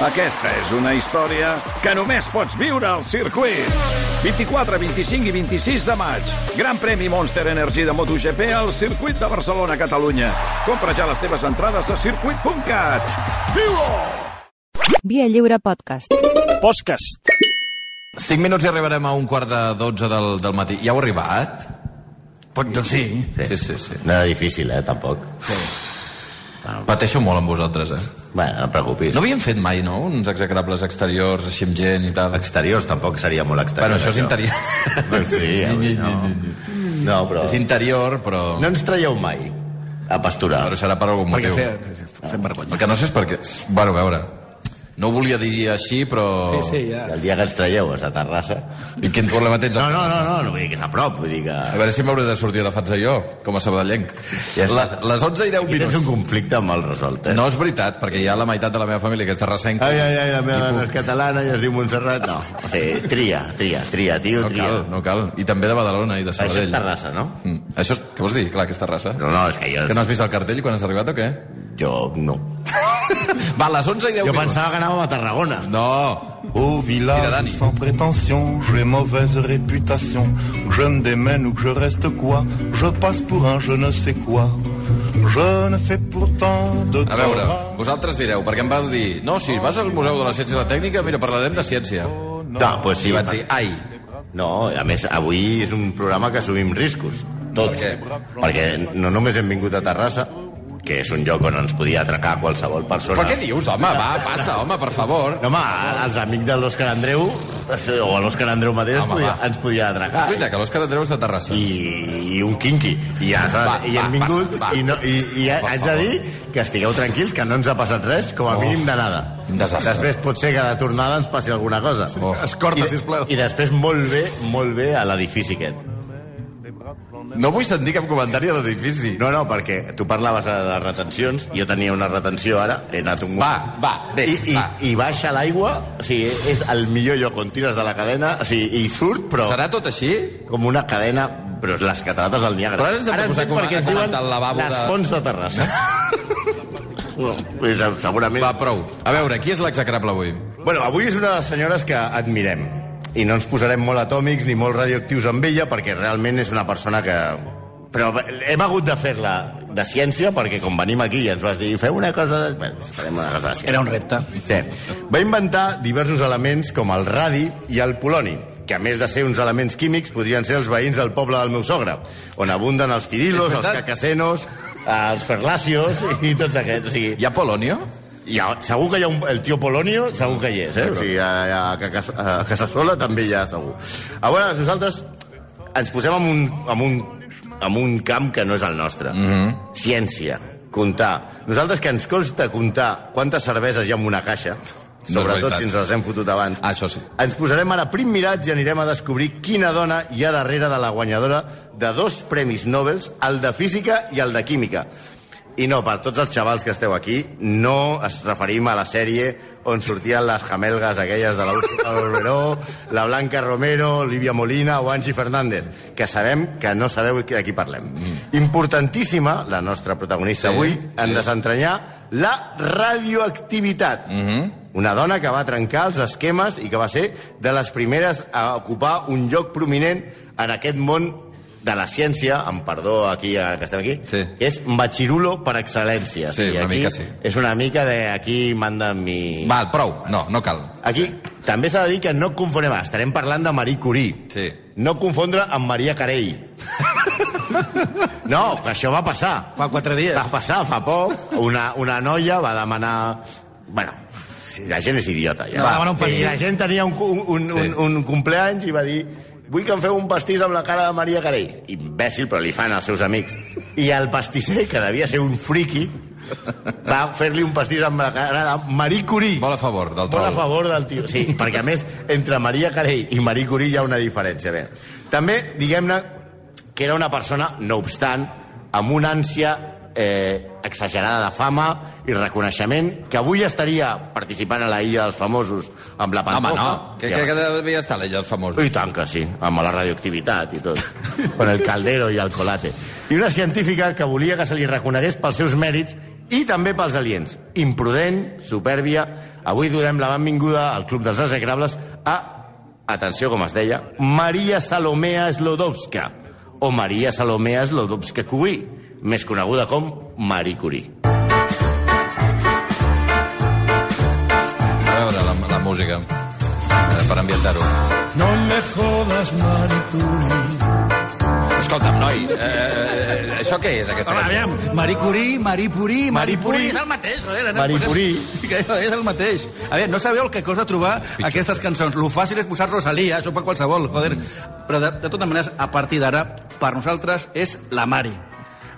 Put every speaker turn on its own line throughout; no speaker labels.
Aquesta és una història que només pots viure al circuit. 24, 25 i 26 de maig. Gran premi Monster Energy de MotoGP al circuit de Barcelona, Catalunya. Compra ja les teves entrades a circuit.cat. Viu-ho!
Via Lliure Podcast.
Podcast.
5 minuts i arribarem a un quart de 12 del, del matí. Ja heu arribat?
Pot, doncs sí.
Sí, sí, sí.
No era difícil, eh, tampoc.
Pateixo molt amb vosaltres, eh?
Bueno, no et preocupis.
No havíem fet mai, no?, uns execrables exteriors, així amb gent i tal.
Exteriors tampoc seria molt exterior.
Bueno, això és interior.
Sí, avui no. No, però...
és interior, però...
No ens traieu mai a pasturar.
Però serà per algun
Perquè
motiu.
fem, fem vergonya.
El que no sé és perquè... Bueno, a veure, no ho volia dir així, però...
Sí, sí, ja.
I el dia que ens traieu és a Terrassa...
I quin problema tens?
No, no, no, no, no vull dir que és a prop, vull dir que...
A veure si m'hauré de sortir de fatxa jo, com a sabadellenc.
Ja està.
La, les 11 i 10
Aquí tens
minuts.
un conflicte mal resolt, eh?
No és veritat, perquè hi ha la meitat de la meva família que és terrassenca.
Ai, ai, ai, la meva dona és catalana i es diu Montserrat. No, o sigui, tria, tria, tria, tio,
No
tria.
cal, no cal. I també de Badalona i de
Això és
Sabadell.
Terrassa, no?
Mm. Això és... Què vols dir? Clar, que és Terrassa.
No, no, és que jo...
Que no has vist el cartell quan has arribat o què?
Jo no.
Va, a les 11 i 10
Jo
minuts.
pensava que anàvem a Tarragona.
No,
Au
Il a
village
Dani.
sans prétention, j'ai mauvaise réputation. Que je me démène ou que je reste quoi, je passe pour un je ne sais quoi. Je ne fais pourtant de
a veure,
tort
vosaltres direu, perquè em vau dir... No, si vas al Museu de la Ciència i la Tècnica, mira, parlarem de ciència.
No, doncs pues sí.
I vaig dir, ai,
No, a més, avui és un programa que assumim riscos. Tots.
Per
Perquè no només hem vingut a Terrassa, que és un lloc on ens podia atracar qualsevol persona.
però què dius, home, va, passa, home, per favor.
No, home, els amics de l'Òscar Andreu, o a l'Òscar Andreu mateix,
Home,
home, podia,
va.
ens podia atracar.
És veritat que l'Òscar Andreu és de Terrassa.
i, i un quinqui. I, aleshores,
Va,
i
va,
hem vingut
passa, va.
i, no, i, i
Per
haig de
favor.
dir que estigueu tranquils, que no ens ha passat res, com a
Oh,
mínim de nada.
quin desastre.
Després pot ser que de tornada ens passi alguna cosa.
Oh.
Escorta,
I,
sisplau.
I després molt bé, molt bé a l'edifici aquest.
No vull sentir cap comentari a l'edifici.
No, no, perquè tu parlaves de les retencions, jo tenia una retenció ara, he anat un...
Va, va,
I,
ves,
i,
va.
i baixa l'aigua, o sigui, és el millor lloc on tires de la cadena, o sigui, i surt, però
Serà tot així?
com una cadena, però és les catarates del Niagara.
Però ara ens hem de posar
entenc
com- a
perquè es
comentar
diuen
el lavabo
les
de-
fonts de Terrassa. no, és, segurament...
Va, prou. A veure, qui és l'execrable avui?
Bueno, avui és una de les senyores que admirem i no ens posarem molt atòmics ni molt radioactius amb ella perquè realment és una persona que... Però hem hagut de fer-la de ciència perquè com venim aquí i ens vas dir feu una cosa... De... Bueno, farem una cosa de ciència.
Era un repte.
Sí. Va inventar diversos elements com el radi i el poloni, que a més de ser uns elements químics podrien ser els veïns del poble del meu sogre, on abunden els
És
quirilos, els
veritat?
cacasenos, els ferlacios i tots aquests. O sigui,
Hi ha Polònia?
hi ha, segur que hi ha un, el tio Polonio, segur que hi és, eh? O sigui, a, a, a, Casa- a Casasola també hi ha, segur. A veure, nosaltres ens posem en un, en un, en un camp que no és el nostre. Mm -hmm. Ciència, comptar. Nosaltres que ens consta comptar quantes cerveses hi ha en una caixa,
és
sobretot
veritat.
si ens les hem fotut abans.
Ah, això sí.
Ens posarem ara prim mirats i anirem a descobrir quina dona hi ha darrere de la guanyadora de dos premis Nobel, el de Física i el de Química. I no, per tots els xavals que esteu aquí, no es referim a la sèrie on sortien les jamelgues aquelles de la Úrsula Barberó, la Blanca Romero, Olivia Molina o Angie Fernández, que sabem que no sabeu de qui parlem. Importantíssima, la nostra protagonista
Mm. Sí,
avui, en
sí.
desentranyar la radioactivitat.
Mhm.
Una dona que va trencar els esquemes i que va ser de les primeres a ocupar un lloc prominent en aquest món de la ciència, amb perdó aquí eh, que estem aquí,
Sí.
que és Bachirulo per excel·lència.
Sí,
I
una
aquí
mica sí.
És una mica de aquí manda mi...
Va, prou. No, no cal.
Aquí també s'ha de dir que no confonem, estarem parlant de Marie Curie.
Sí.
No confondre amb Maria Carey. no, que això va passar.
Fa quatre dies.
Va passar fa poc, una, una noia va demanar... Bueno, si la gent és idiota. Ja.
Va demanar un pastís.
I la gent tenia un, un, un,
Sí.
sí. un, un compleanys i va dir vull que em feu un pastís amb la cara de Maria Carey. Imbècil, però li fan als seus amics. I el pastisser, que devia ser un friqui, va fer-li un pastís amb la cara de Marie Curie.
Molt a favor del
Molt a
troll.
favor del tio. Sí, perquè a més, entre Maria Carey i Marie Curie hi ha una diferència. Bé. També, diguem-ne, que era una persona, no obstant, amb una ànsia eh, exagerada de fama i reconeixement, que avui estaria participant a la Illa dels Famosos amb la
Home,
Pantoja.
no. Que, que, que devia estar l'ella, els famosos.
Oh, I tant que sí, amb la radioactivitat i tot. Con el caldero i el colate. I una científica que volia que se li reconegués pels seus mèrits I també pels aliens. Imprudent, supèrbia. Avui donem la benvinguda al Club dels Execrables a, atenció com es deia, Maria Salomea Slodowska, o Maria Salomea Slodowska Curie, més coneguda com Marie Curie.
A veure la, la música, eh, per ambientar-ho.
No me jodas, Maricuri.
Escolta'm, noi, eh, eh, això què és, aquesta
Home,
cançó?
aviam, Marie Curie, Marie Curie,
Marie
Marie
Curie.
Curie... És el mateix, no era?
Marie Curie.
És el mateix. A veure, no sabeu el que costa trobar aquestes cançons. Lo fàcil és posar Rosalia, això per qualsevol, joder.
Mm.
Però de, de totes maneres, a partir d'ara, per nosaltres és la Mari.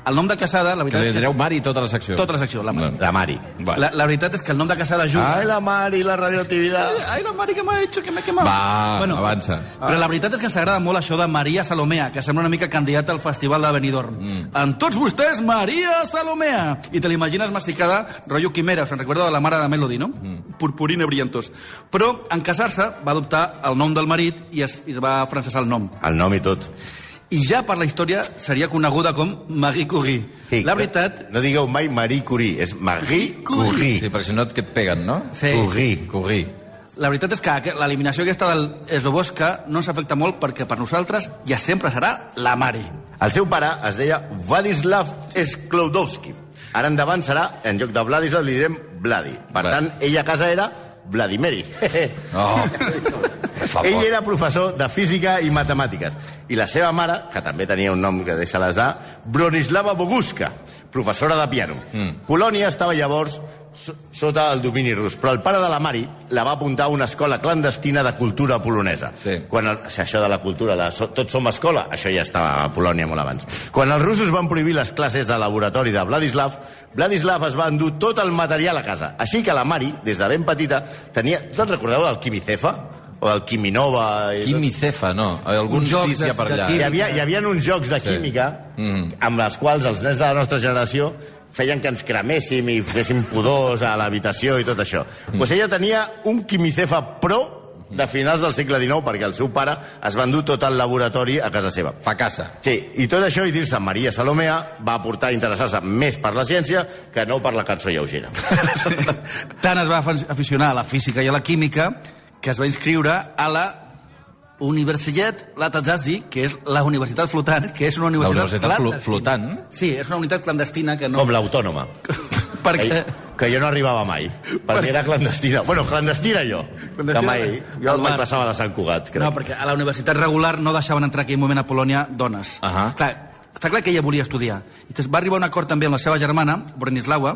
El nom de casada, la
Que
veritat
li
és que...
direu Mari tota la secció.
Tota la secció, la Mari.
La Mari.
Vale.
La, la veritat és que el nom de casada ajuda.
Ai, la Mari, la radioactivitat.
Ai, la Mari que m'ha hecho, que m'ha quemat.
Va, avança.
Però la veritat és que ens agrada molt això de Maria Salomea, que sembla una mica candidata al festival de Benidorm. Mm. En tots vostès, Maria Salomea! I te l'imagines massicada, rotllo quimera, us en recordeu de la mare de Melody, no? Mm. Purpurina brillantos. Però, en casar-se, va adoptar el nom del marit i es, i es va francesar el nom.
El nom i tot.
I ja per la història seria coneguda com Marie Curie.
Sí,
la veritat...
No digueu mai Marie Curie, és Marie
Curie.
Curie.
Sí, perquè si no et- que et peguen, no?
Sí.
Curie.
Corri.
La veritat és que aqu- l'eliminació aquesta del Esloboska no ens afecta molt perquè per nosaltres ja sempre serà la Mari.
El seu pare es deia Vladislav Sklodowski. Ara endavant serà, en lloc de Vladislav, li direm Vladi. Per
Vale.
tant, ella a casa era Vladimiri.
Oh, per favor.
Ell era professor de física i matemàtiques. I la seva mare, que també tenia un nom que deixa les A, Bronislava Boguska, professora de piano. Mm. Polònia estava llavors so- sota el domini rus, però el pare de la Mari la va apuntar a una escola clandestina de cultura polonesa.
Sí.
Quan el, si això de la cultura, de so, tots som escola, això ja estava a Polònia molt abans. Quan els russos van prohibir les classes de laboratori de Vladislav, Vladislav es va endur tot el material a casa. Així que la Mari, des de ben petita, tenia... Te'n recordeu del Quimicefa? O del Quiminova... i tot?
Quimicefa, no. Eh, Algun
Un joc
sí, sí,
de-
per allà. eh?
de
Hi havia, hi havia uns jocs de química
Mm.
amb els quals els nens de la nostra generació feien que ens creméssim i féssim pudors a l'habitació i tot això.
Mm.
Doncs pues ella tenia un quimicefa pro de finals del segle XIX, perquè el seu pare es va endur tot el laboratori a casa seva.
eh? Fa casa.
Sí, i tot això, i dir-se Maria Salomea, va portar a interessar-se més per la ciència que no per la cançó lleugera.
Tant es va afen- aficionar a la física i a la química que es va inscriure a la Universitat Latazazi, que és la universitat flotant, que és una
La
universitat,
universitat flo-
clandestina.
flotant.
Sí, és una unitat clandestina que no...
Com l'autònoma.
Perquè...
Que, que jo no arribava mai, perquè era clandestina. Bueno, clandestina jo,
Clandestina
que mai... Jo
al
mai
mar.
passava de Sant Cugat, crec.
No, perquè a la universitat regular no deixaven entrar en aquell moment a Polònia dones.
Ahà.
Clar, està clar que ella volia estudiar. Llavors va arribar a un acord també amb la seva germana, Bronislawa,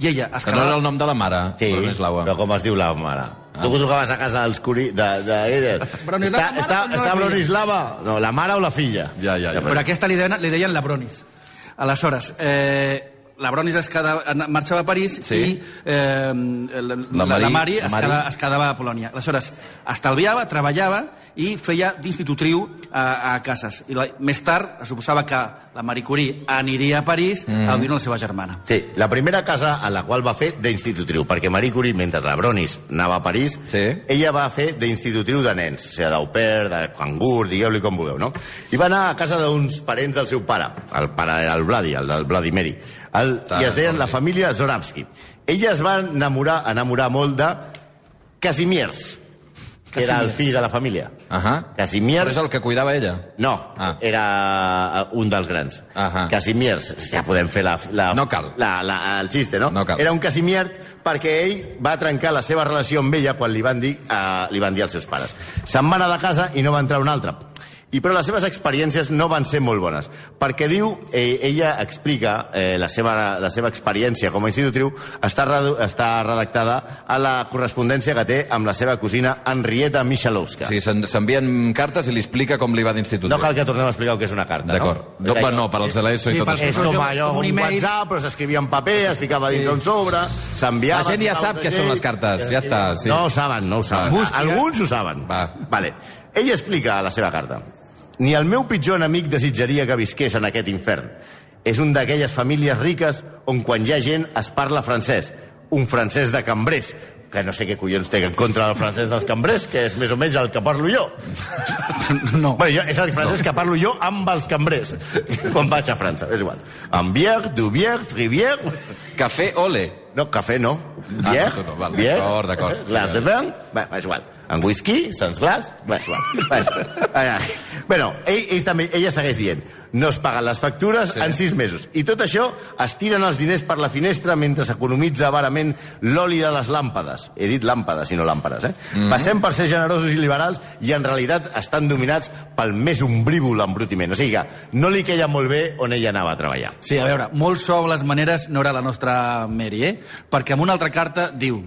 i ella es
Que no era
quedava...
el nom de la mare,
Sí,
però no és l'aua.
però com es diu la mare? Ah. Tu que tocaves a casa dels curi... De, de, de,
Bronislava,
està,
mare,
està,
o no la
està
filla?
Bronislava? No, la mare o la filla?
Ja, ja, ja.
Però aquesta li deien, li deien la Bronis. Aleshores, eh, la Bronis es quedava, an- marxava a París
Sí.
i eh, la, la,
Mari-
la
la
Mari es,
Mari.
quedava, es quedava a Polònia. Aleshores, estalviava, treballava i feia d'institutriu a, a cases. I la, més tard es suposava que la Marie Curie aniria a París mm. a viure amb la seva germana.
Sí, la primera casa a la qual va fer d'institutriu, perquè Marie Curie, mentre la Bronis anava a París,
Sí.
ella va fer d'institutriu de nens, o sigui, d'au pair, de cangur, digueu-li com vulgueu, no? I va anar a casa d'uns parents del seu pare, el pare era el Vladi, el del Vladimiri, el, i es deien la família Zoravski. Ella es va enamorar, enamorar molt de Casimiers, que era el fill de la família.
Ahà.
Casimiers...
Però és el que cuidava ella.
No,
Ah.
ah. era eh, un dels grans.
Ahà.
Casimiers, ja podem fer la, la,
No cal.
La, la, el xiste, no?
No cal.
Era un Casimier perquè ell va trencar la seva relació amb ella quan li van dir, eh, li van dir als seus pares. Se'n va anar de casa i no va entrar un altre. I però les seves experiències no van ser molt bones, perquè diu, eh, ella explica eh, la, seva, la seva experiència com a institutriu està, redu- està redactada a la correspondència que té amb la seva cosina Henrietta Michalowska.
O sigui, s'en- s'envien cartes i li explica com li va d'institut.
No cal que tornem a explicar el que és una carta,
D'acord.
no?
No, no, per als de l'ESO
Sí,
i tot
per-
això.
És com
Jo-
allò, un,
un
un
email.
WhatsApp, però s'escrivia en paper, es ficava dins d'un sobre, s'enviava...
La gent ja
s'enviava
sap
un
què són les
segell,
cartes, ja està, sí. eh?
No ho saben, no ho saben.
Busca.
Alguns ho saben.
Va.
Vale. Ell explica a la seva carta. Ni el meu pitjor enemic desitjaria que visqués en aquest infern. És un d'aquelles famílies riques on quan hi ha gent es parla francès. Un francès de cambrers, que no sé què collons té en contra del francès dels cambrers, que és més o menys el que parlo jo.
No.
Bueno, jo, és el francès no. que parlo jo amb els cambrers, quan vaig a França, és igual. Ambière, Dubière, Rivière...
Cafè ole.
No, cafè no. Bière,
Ah, no, no, val,
bière,
d'acord, d'acord.
eh, Glaç de vin, va, va, és igual. Amb whisky, sense glaç, va, és igual. Va, és igual. Ah, ah. bueno, ell, ell també, ella segueix dient no es paguen les factures sí. en sis mesos. I tot això es tiren els diners per la finestra mentre s'economitza avarament l'oli de les làmpades. He dit làmpades i no làmpades, eh?
Mhm.
Mm -hmm. Passem per ser generosos i liberals i en realitat estan dominats pel més ombrívol embrutiment. O sigui que no li queia molt bé on ella anava a treballar.
Sí, a veure, molt suau les maneres no era la nostra Mary, eh? Perquè amb una altra carta diu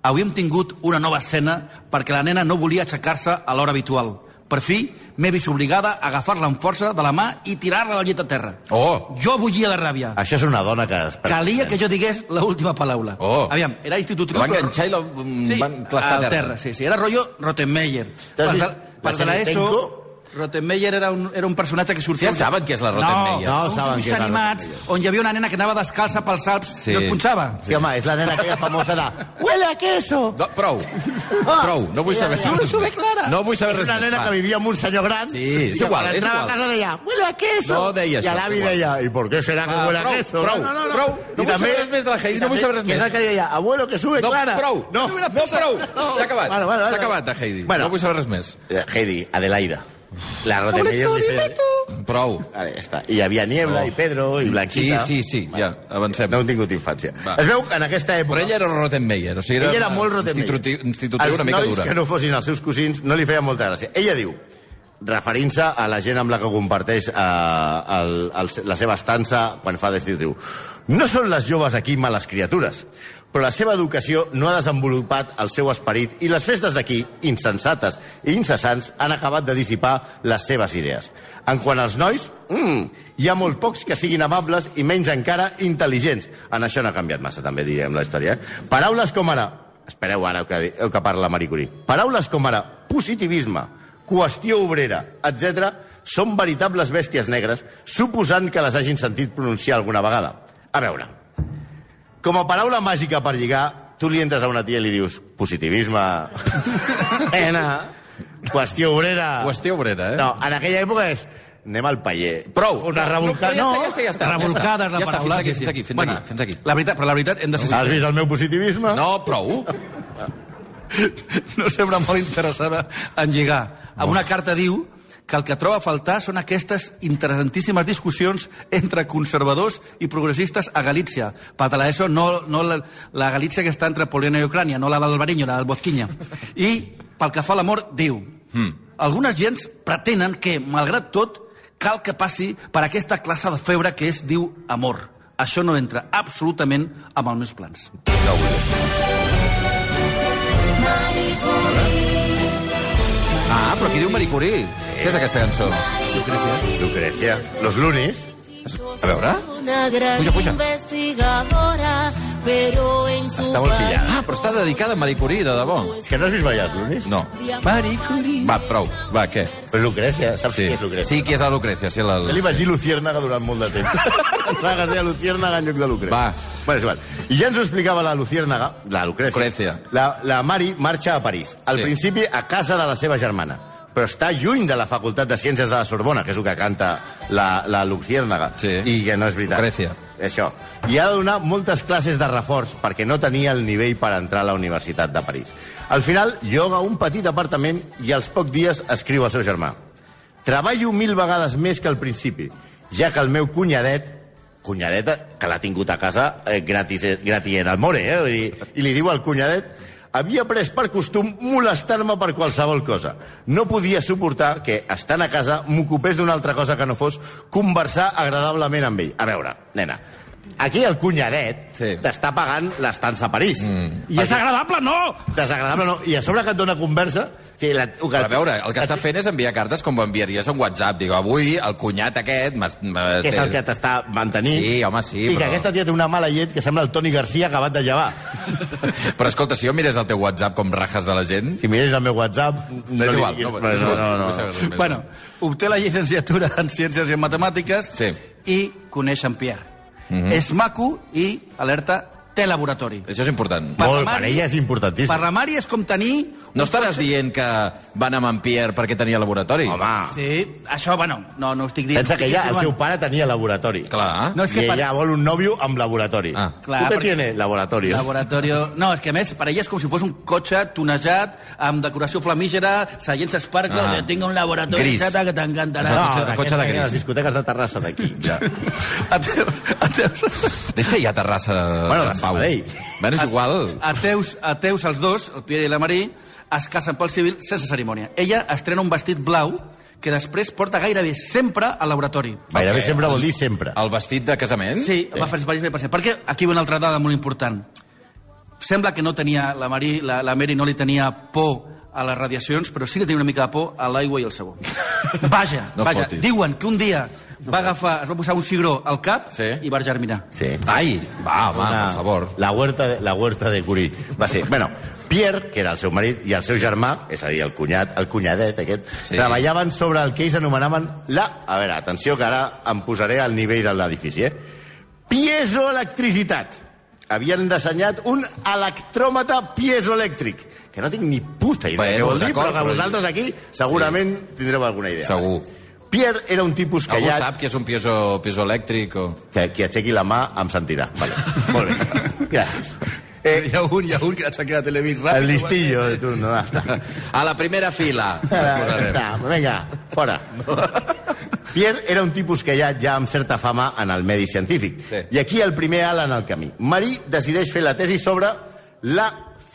avui hem tingut una nova escena perquè la nena no volia aixecar-se a l'hora habitual. Per fi, m'he vist obligada a agafar-la amb força de la mà i tirar-la del llit a terra.
Oh.
Jo bullia de ràbia.
Això és una dona que... es-
Calia que jo digués l'última paraula.
Oh.
Aviam, era institutriu...
La van enganxar i la mm,
Sí,
van clastar
al terra. Sí, sí, era rollo Rottenmeier. Per,
vist
de- per de la ESO...
Senitenco?
Rottenmeier era un, era un personatge que sortia...
Sí, saben què és la Rottenmeier.
No,
No,
no
saben
saben
què és la
animats on hi havia una nena que anava descalça pels Alps
Sí.
i no es punxava.
Sí, home, és la nena aquella famosa de... Huele a queso!
No, prou.
Ah.
Prou. No vull saber.
Jo no sóc clara.
No vull saber
És
res.
una
més.
nena
Va.
que vivia amb un senyor gran
Sí,
i
és
que
igual,
quan
és
entrava
igual.
a casa deia huele a queso
No deia
i
això,
l'avi
és igual. Ah,
deia i por qué será que
Va,
huele a
prou,
queso
prou,
no, no, no, no.
prou.
I
No vull
també-
saber res més de la Heidi,
i
no vull
també-
saber res
que és
més.
el que deia abuelo que sube
No,
Clara
prou.
no,
no, prou. S'ha acabat.
Bueno, bueno,
S'ha
bueno.
acabat, de Heidi.
Bueno.
No vull saber res més.
Eh, Heidi Adelaida la Rotemeyer
Prou.
Vale, ja està. I hi havia Niebla,
Oh.
i Pedro, i
Sí,
Blanquita.
sí, sí, ja, avancem.
No han tingut infància.
Va.
Es veu que en aquesta època...
Però ella era Rottenmeier, o sigui, era,
Ella era molt Rottenmeier.
instituti- institutiu una mica
Els
dura.
nois que no fossin els seus cosins no li feia molta gràcia. Ella diu, referint-se a la gent amb la que comparteix eh, el, el, la seva estança quan fa d'institutiu. No són les joves aquí males criatures, però la seva educació no ha desenvolupat el seu esperit i les festes d'aquí, insensates i incessants, han acabat de dissipar les seves idees. En quant als nois, mm, hi ha molt pocs que siguin amables i menys encara intel·ligents. En això no ha canviat massa, també diríem la història. Eh? Paraules com ara... Espereu ara que, que parla Marie Curie. Paraules com ara positivisme, qüestió obrera, etc són veritables bèsties negres, suposant que les hagin sentit pronunciar alguna vegada. A veure, com a paraula màgica per lligar, tu li entres a una tia i li dius positivisme, nena, qüestió obrera...
Qüestió obrera, eh?
No, en aquella època és anem al paller.
Prou.
Una revolcada.
No,
No,
ja està, ja està, ja està.
Revolcades,
ja
la
està,
paraula.
Fins aquí,
sí, sí.
fins aquí, fins
Bueno,
aquí, fins aquí.
La veritat, però la veritat hem de ser...
Has vist el meu positivisme?
No, prou.
no sembla molt interessada en lligar. Amb una carta diu que el que troba a faltar són aquestes interessantíssimes discussions entre conservadors i progressistes a Galícia. Per de l'ESO, no, no la, la Galícia que està entre Polònia i Ucrània, no la del Bariño, la del Bozquinya. I pel que fa a l'amor, diu... Algunes gens pretenen que, malgrat tot, cal que passi per aquesta classe de febre que es diu amor. Això no entra absolutament amb els meus plans.
Ah, però aquí diu Marie Curie. Què és aquesta cançó?
Lucrecia. Los lunis.
A veure.
Una gran
Puja, puja.
investigadora, pero en su
Està molt
patria
pillada.
Ah, però està dedicada a Marie Curie, de debò.
És que no has vist ballar els lunis?
No. Marie Curie. Va, prou. Va, què?
Però Pues Lucrecia, saps
Sí,
qui és Lucrecia?
sí qui és la Lucrecia. Sí, la...
Jo li vaig dir Luciérnaga durant molt de temps. Pensava que es deia Luciérnaga en lloc de Lucrecia.
Va.
Bueno, és igual. I ja ens ho explicava la Luciérnaga, la Lucrecia.
Lucrecia.
La, la Mari marxa a París. Al
Sí.
sí. principi a casa de la seva germana però està lluny de la Facultat de Ciències de la Sorbona, que és el que canta la, la Luciérnaga.
Sí.
I que no és veritat.
Lucrecia.
Això. I ha de donar moltes classes de reforç perquè no tenia el nivell per entrar a la Universitat de París. Al final, lloga un petit apartament i als pocs dies escriu al seu germà. Treballo mil vegades més que al principi, ja que el meu cunyadet cunyadeta, que l'ha tingut a casa eh, gratis, eh, gratient al more, eh? Vull dir, I li diu al cunyadet, havia pres per costum molestar-me per qualsevol cosa. No podia suportar que, estant a casa, m'ocupés d'una altra cosa que no fos conversar agradablement amb ell. A veure, nena, aquí el cunyadet
Sí.
t'està pagant l'estança a París. Mm.
I és agradable, no!
Desagradable, no? I a sobre que et dona conversa... O sigui, la, o que,
Però a veure, el que està fent és enviar cartes com ho enviaries a un WhatsApp. Digo, avui el cunyat aquest... m'has- m'has-
que és el que t'està mantenint.
Sí, home, sí,
I que
però-
aquesta tia té una mala llet que sembla el Toni Garcia acabat de llevar.
Però escolta, si jo mires el teu WhatsApp com rajes de la gent...
Si mires el meu WhatsApp...
No és
li
igual.
diguis-
No,
Però no, no,
vull saber
no.
res més.
Bueno, obté la llicenciatura en Ciències i en Matemàtiques
Sí. Mhm.
i coneix en Pierre. Mm -hmm. És maco i, alerta, té laboratori.
Això és important.
Per la
Molt,
Mari-
per ella és importantíssim.
Per la Mari és com tenir...
No estaràs dient "Ah". que van amb en Pierre perquè tenia laboratori?
Home,
Sí, això, bueno, no, no ho estic dient.
pensa que ella, el seu
Insinuant.
pare tenia laboratori.
Clar.
No, és que
I
per-
ella vol un nòvio amb laboratori.
Ah.
Clar,
Clar, ¿Usted
perquè-
tiene laboratori?
Laboratorio... No, és que a més, per ella és com si fos un cotxe tonejat, amb decoració flamígera, seients Sparkle,
Ah.
ah. tinc un laboratori,
Gris.
etcètera, que t'encantarà.
No,
Etcètera.
el cotxe de
aquest
gris.
a Les discoteques de Terrassa d'aquí. Ja.
A teus, a teus,
Deixa ja Terrassa...
Bueno, de
en pau.
Sabadell.
Bueno, és igual.
a teus, a teus els dos, el Pierre i la Marie, es casen pel civil sense cerimònia. Ella estrena un vestit blau que després porta gairebé sempre al laboratori.
Gairebé
Ok.
sempre vol dir sempre.
El vestit de casament?
Sí, va fer per per cent. Perquè aquí ve una altra dada molt important. Sembla que no tenia, la, Marie, la, la Mary no li tenia por a les radiacions, però sí que tenia una mica de por a l'aigua i al sabó. Vaja,
No
vaja.
fotis.
Diuen que un dia va agafar, es va posar un cigró al cap
Sí.
i va germinar.
Sí.
Ai, Ah, va, home,
Una-
per favor.
La huerta de, la huerta de Curí. Va ser, bueno, Pierre, que era el seu marit, i el seu germà, és a dir, el cunyat, el cunyadet aquest,
Sí.
sí. treballaven sobre el que ells anomenaven la... A veure, atenció, que ara em posaré al nivell de l'edifici, eh? Piezoelectricitat. Havien dissenyat un electròmetre piezoelèctric, que no tinc ni puta idea
Bé,
què vol dir,
d'acord,
però que
però-
vosaltres aquí segurament tindreu alguna idea.
Segur.
Pierre era un tipus
Algú
callat...
sap que és un piezo, piezo elèctric o...
Que qui aixequi la mà em sentirà. Vale. Molt bé. Gràcies. Eh,
Hi ha un, hi ha un que aixeca la televisió
el listillo de turno. Va, està.
A la primera fila.
Ara, està. Vinga, fora. Pierre era un tipus que ja ja amb certa fama en el medi científic.
Sí.
I aquí el primer ala en el camí. Marí decideix fer la tesi sobre la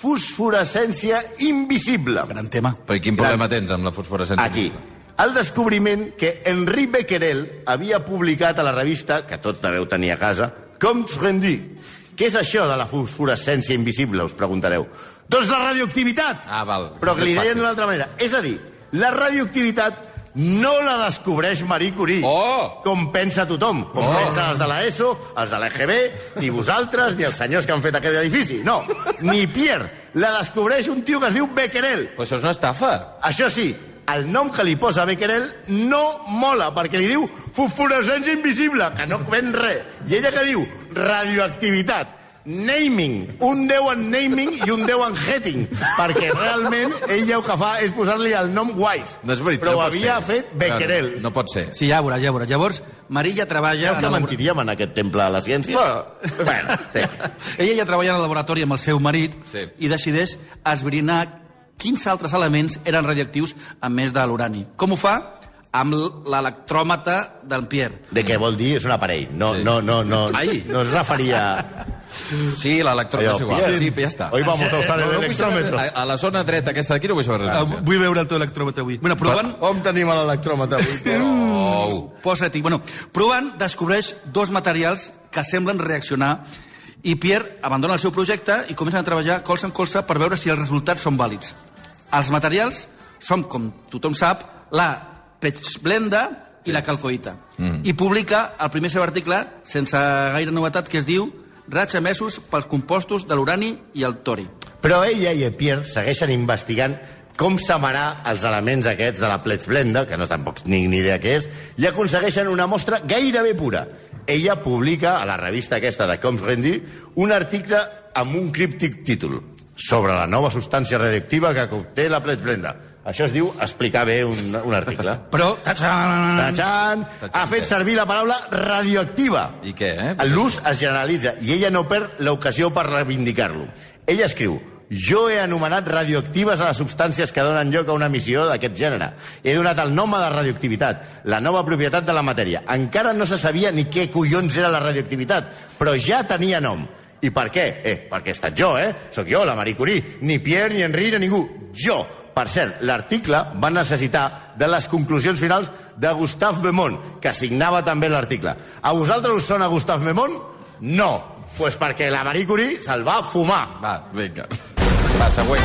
fosforescència invisible.
Gran tema.
Però i quin problema tens amb la fosforescència?
Aquí. El descobriment que Henri Becquerel havia publicat a la revista, que tot deveu tenir a casa, Comptes Rendus. Què és això de la fosforescència invisible, us preguntareu? Doncs la radioactivitat!
Ah, val.
Però que li
És fàcil.
deien d'una altra manera. És a dir, la radioactivitat no la descobreix Marie Curie,
Oh!
com pensa tothom, com
Oh!
pensen els de l'ESO, els de l'EGB, ni vosaltres, ni els senyors que han fet aquest edifici. No, ni Pierre. La descobreix un tio que es diu Becquerel.
Però això és una estafa.
Això sí, el nom que li posa Becquerel no mola, perquè li diu fosforescència invisible, que no ven res. I ella que diu radioactivitat. Naming. Un déu en naming i un déu en heading. Perquè realment ell el que fa és posar-li el nom guais.
No és veritat.
Però ho
no pot
havia
ser.
fet Becquerel.
No, no pot ser.
Sí, ja veuràs, ja veuràs. Llavors, Maria treballa...
Creus
en
que
el labora-
mentiríem en aquest temple de la ciència?
Bueno.
bueno sí.
Ella ja treballa al laboratori amb el seu marit
Sí.
i decideix esbrinar quins altres elements eren radioactius a més de l'urani. Com ho fa? Amb l- l'electròmetre del Pierre.
De què vol dir? És un aparell. No,
Sí.
no, no, no,
Ai.
no es referia...
Sí, l'electròmetre és igual. Sí, ja està.
Hoy vamos a usar el
No, no vull saber
electròmetre.
res. a, a la zona dreta aquesta d'aquí no vull saber res.
Ah, vull veure el teu electròmetre avui. Bueno, provant,
On tenim l'electròmetre avui? però?
Oh.
posa-t'hi. Bueno, provant descobreix dos materials que semblen reaccionar i Pierre abandona el seu projecte i comença a treballar colze en colze per veure si els resultats són vàlids. Els materials són, com tothom sap, la pechblenda i la calcoïta. Mm. I publica el primer seu article, sense gaire novetat, que es diu Rats emesos pels compostos de l'urani i el tori.
Però ella i en Pierre segueixen investigant com semarà els elements aquests de la Pletzblenda, que no tampoc ni, ni idea què és, i aconsegueixen una mostra gairebé pura. Ella publica a la revista aquesta de Combs Rendi un article amb un críptic títol sobre la nova substància radioactiva que conté la Pletzblenda. Això es diu explicar bé un, un article.
Però...
Tachan! Ha fet servir la paraula radioactiva.
I què, eh?
L'ús es generalitza i ella no perd l'ocasió per reivindicar-lo. Ella escriu jo he anomenat radioactives a les substàncies que donen lloc a una emissió d'aquest gènere. He donat el nom a la radioactivitat, la nova propietat de la matèria. Encara no se sabia ni què collons era la radioactivitat, però ja tenia nom. I per què? Eh, perquè he estat jo, eh? Sóc jo, la Marie Curie. Ni Pierre, ni Henri, ni ningú. Jo. Per cert, l'article va necessitar de les conclusions finals de Gustave Memon, que signava també l'article. A vosaltres us sona Gustave Memon? No. Pues perquè la Marie Curie se'l va fumar.
Va, vinga. Va, següent.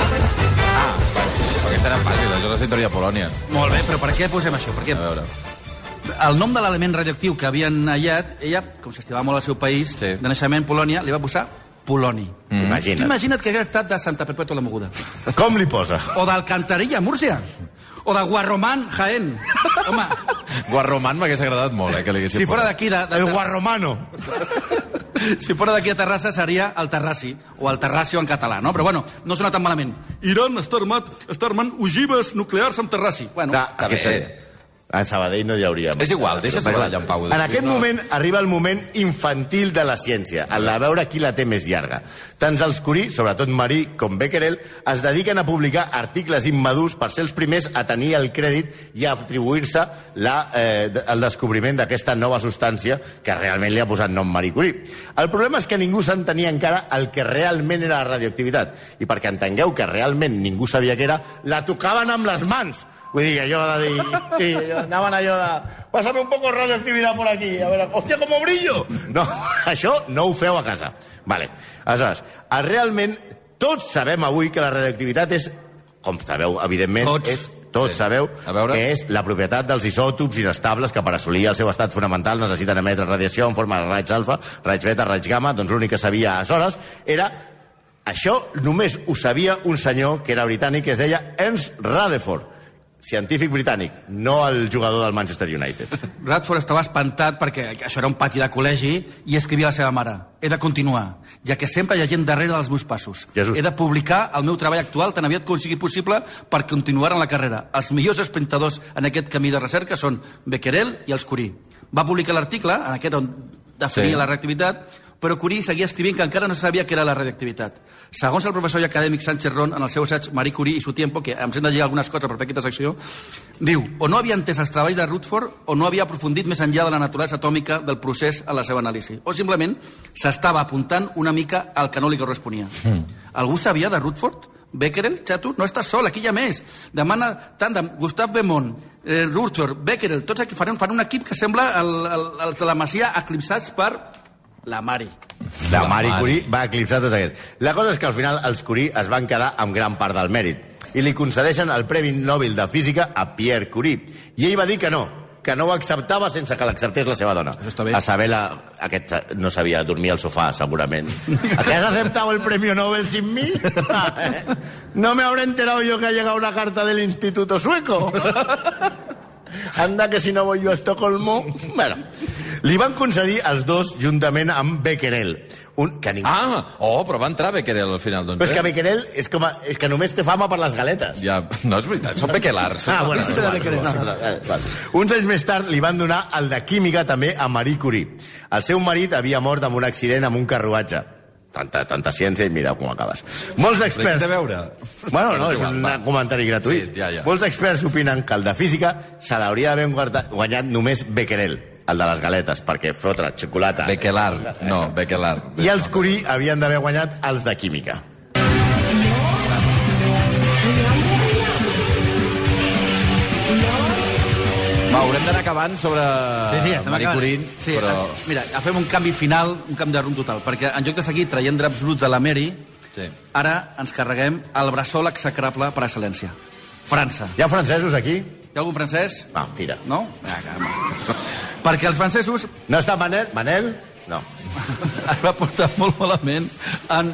Ah, va. Aquesta era fàcil, això és la sintonia de Polònia.
Molt bé, però per què posem això? Per què?
A veure.
el nom de l'element radioactiu que havien hallat, ella, com s'estimava molt el seu país,
Sí.
sí. de naixement Polònia, li va posar Poloni.
Mm.
Imagina't.
Imagina't.
Imagina't que hagués estat de Santa Perpètua la Moguda.
Com li posa?
O d'Alcantarilla, Múrcia. O de Guarromán, Jaén. Home,
Guarroman m'hagués agradat molt, eh, que li haguessin
si fora
posat.
d'aquí... De, de,
El
de,
guarromano.
Si fora d'aquí a Terrassa seria el Terrassi, o el Terrassio en català, no? Però bueno, no sona tan malament. Iran està armat, està armant ogives nuclears amb Terrassi. Bueno,
No,
Està
aquest
bé.
seria. A Sabadell no hi hauria...
És igual, deixa Sabadell en pau.
En aquest
No.
moment arriba el moment infantil de la ciència, el de veure qui la té més llarga. Tants els Curí, sobretot Marí com Becquerel, es dediquen a publicar articles immadurs per ser els primers a tenir el crèdit i a atribuir-se la, eh, d- el descobriment d'aquesta nova substància que realment li ha posat nom Marie Curie. El problema és que ningú s'entenia encara el que realment era la radioactivitat. I perquè entengueu que realment ningú sabia què era, la tocaven amb les mans. Vull dir, allò de dir... Sí, allò, anaven allò de... Pásame un poco de radioactividad por aquí. A veure, hòstia, com brillo! No, això no ho feu a casa. Vale. Aleshores, eh, realment tots sabem avui que la radioactivitat és, com sabeu, evidentment,
Tots.
és tots
Sí.
sabeu
A veure.
que és la propietat dels isòtops inestables que per assolir el seu estat fonamental necessiten emetre radiació en forma de raigs alfa, raigs beta, raigs gamma, doncs l'únic que sabia aleshores era això només ho sabia un senyor que era britànic que es deia Ernst Rutherford, científic britànic, no el jugador del Manchester United.
Radford estava espantat perquè això era un pati de col·legi i escrivia a la seva mare. He de continuar, ja que sempre hi ha gent darrere dels meus passos.
Jesús.
He de publicar el meu treball actual tan aviat com sigui possible per continuar en la carrera. Els millors esprintadors en aquest camí de recerca són Becquerel i els Curie. Va publicar l'article, en aquest on
Sí.
definia sí. la radioactivitat, però Curie seguia escrivint que encara no se sabia què era la radioactivitat. Segons el professor i acadèmic Sánchez Ron, en el seu assaig Marie Curie i su tiempo, que em sent de llegir algunes coses per fer aquesta secció, diu, o no havia entès els treballs de Rutherford o no havia aprofundit més enllà de la naturalesa atòmica del procés a la seva anàlisi. O simplement s'estava apuntant una mica al que no li corresponia. Mm. Algú sabia de Rutherford? Becquerel, xato, no estàs sol, aquí hi ha més. Demana tant de Gustav Bemont, eh, Rutherford, Becquerel, tots aquí faran, faran un equip que sembla el, el, el de la Masia eclipsats per la Mari.
La
La
Marie
Marie.
Curie va eclipsar tots aquests. La cosa és que al final els Curie es van quedar amb gran part del mèrit i li concedeixen el Premi Nobel de Física a Pierre Curie. I ell va dir que no, que no ho acceptava sense que l'acceptés la seva dona.
està bé.
A saber, la... aquest eh, no sabia dormir al sofà, segurament. ¿Te has aceptado el Premi Nobel sin mí? No me habré enterado yo que ha llegado una carta del Instituto Sueco. Anda, que si no voy yo a Estocolmo... Bueno, li van concedir els dos juntament amb Becquerel, un que ningú...
Ah, oh, però va entrar Becquerel al final, doncs.
Però és que
eh?
Becquerel és, com a, és que només té fama per les galetes.
Ja, no, és veritat, són Becquelars.
Ah, bueno,
príncipe de Becquerel.
No, no, no, eh, val. Uns anys més tard li van donar el de química també a Marie Curie. El seu marit havia mort amb un accident amb un carruatge. Tanta, tanta ciència i mira com acabes. Molts
Res
experts...
de veure.
Bueno, no,
és
és
igual,
un
va.
comentari gratuït.
Sí, ja, ja.
Molts experts opinen que el de física se l'hauria d'haver guarda- guanyat només Becquerel, el de les galetes, perquè fotre xocolata...
Becquelar, no, Becquelar.
I els Curie havien d'haver guanyat els de química.
Va, haurem d'anar acabant sobre
Ah,
Marie
acabant.
Curie,
Sí,
però...
eh, Mira, fem un canvi final, un canvi de rumb total, perquè en lloc de seguir traient draps bruts de la Mary,
Sí.
ara ens carreguem el bressol execrable per excel·lència. França.
Hi ha francesos aquí?
Hi ha algun francès?
Va, tira.
No? Ah, calma. perquè els francesos
No està Manel? Manel? No.
es va portar molt malament en,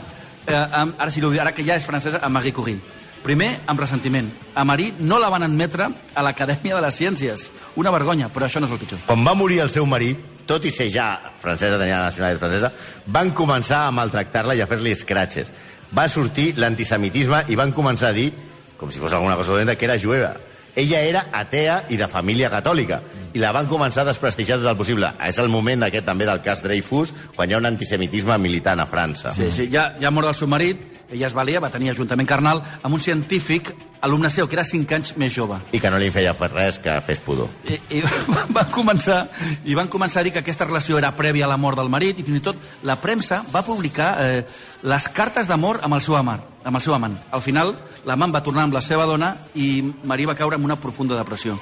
eh, amb, ara sí l'ho diré, ara que ja és francesa, amb Marie Curie. Primer, amb ressentiment. A Marie no la van admetre a l'Acadèmia de les Ciències. Una vergonya, però això no és el pitjor.
Quan va morir el seu marit, tot i ser ja francesa, tenia la nacionalitat francesa, van començar a maltractar-la i a fer-li escratxes. Va sortir l'antisemitisme i van començar a dir, com si fos alguna cosa dolenta, que era jueva. Ella era atea i de família catòlica i la van començar a desprestigiar tot el possible. És el moment aquest també del cas Dreyfus, quan hi ha un antisemitisme militant a França.
Sí, sí, ja, ja mort el seu marit, ella es valia, va tenir ajuntament carnal, amb un científic, alumne seu, que era 5 anys més jove.
I que no li feia res que fes pudor.
I, i van, començar, I van començar a dir que aquesta relació era prèvia a la mort del marit i fins i tot la premsa va publicar eh, les cartes d'amor amb el seu amant. Amb el seu amant. Al final, l'amant va tornar amb la seva dona i Marie va caure en una profunda depressió.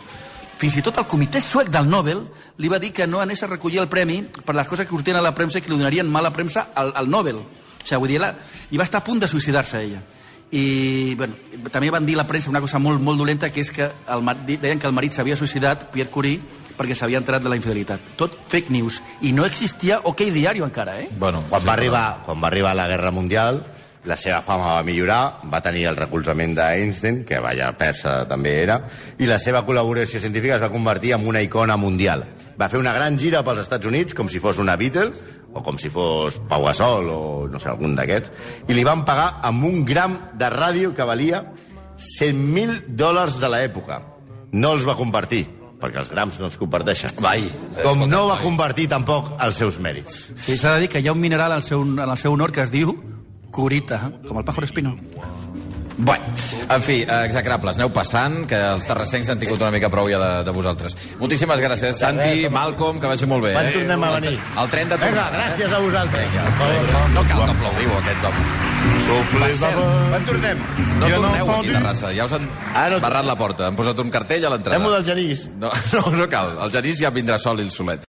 Fins i tot el comitè suec del Nobel li va dir que no anés a recollir el premi per les coses que sortien a la premsa i que li donarien mala premsa al, al Nobel. O sigui, vull dir, la, i va estar a punt de suïcidar-se ella. I, bueno, també van dir a la premsa una cosa molt, molt dolenta, que és que el, mar- di- deien que el marit s'havia suïcidat, Pierre Curie, perquè s'havia enterat de la infidelitat. Tot fake news. I no existia OK Diario encara, eh?
Bueno,
Quan,
sí,
va
però-
arribar, quan va arribar la Guerra Mundial, la seva fama va millorar, va tenir el recolzament d'Einstein, que vaya persa també era, i la seva col·laboració científica es va convertir en una icona mundial. Va fer una gran gira pels Estats Units, com si fos una Beatles, o com si fos Pau Gasol o no sé, algun d'aquests, i li van pagar amb un gram de ràdio que valia 100.000 dòlars de l'època. No els va compartir, perquè els grams no els comparteixen.
Vai.
Com no va compartir tampoc els seus mèrits.
Sí, s'ha de dir que hi ha un mineral al seu, en el seu honor que es diu curita, com el pájaro espino.
Bueno, en fi, eh, execrables, aneu passant, que els terrassencs han tingut una mica prou ja de, de vosaltres. Moltíssimes gràcies, Santi, Malcolm, que vagi molt bé.
Quan
eh?
tornem a venir?
El tren de
Vinga,
tornada.
gràcies a vosaltres.
No cal que aplaudiu aquests homes.
Sauf les
Cert,
aveux.
Quan tornem?
No
Jo no
torneu
entenc.
aquí, Terrassa. Ja us han
Ah, no.
barrat la porta. Han posat un cartell a l'entrada.
Fem-ho del Genís.
No, no, no cal. El Genís ja vindrà sol i el solet.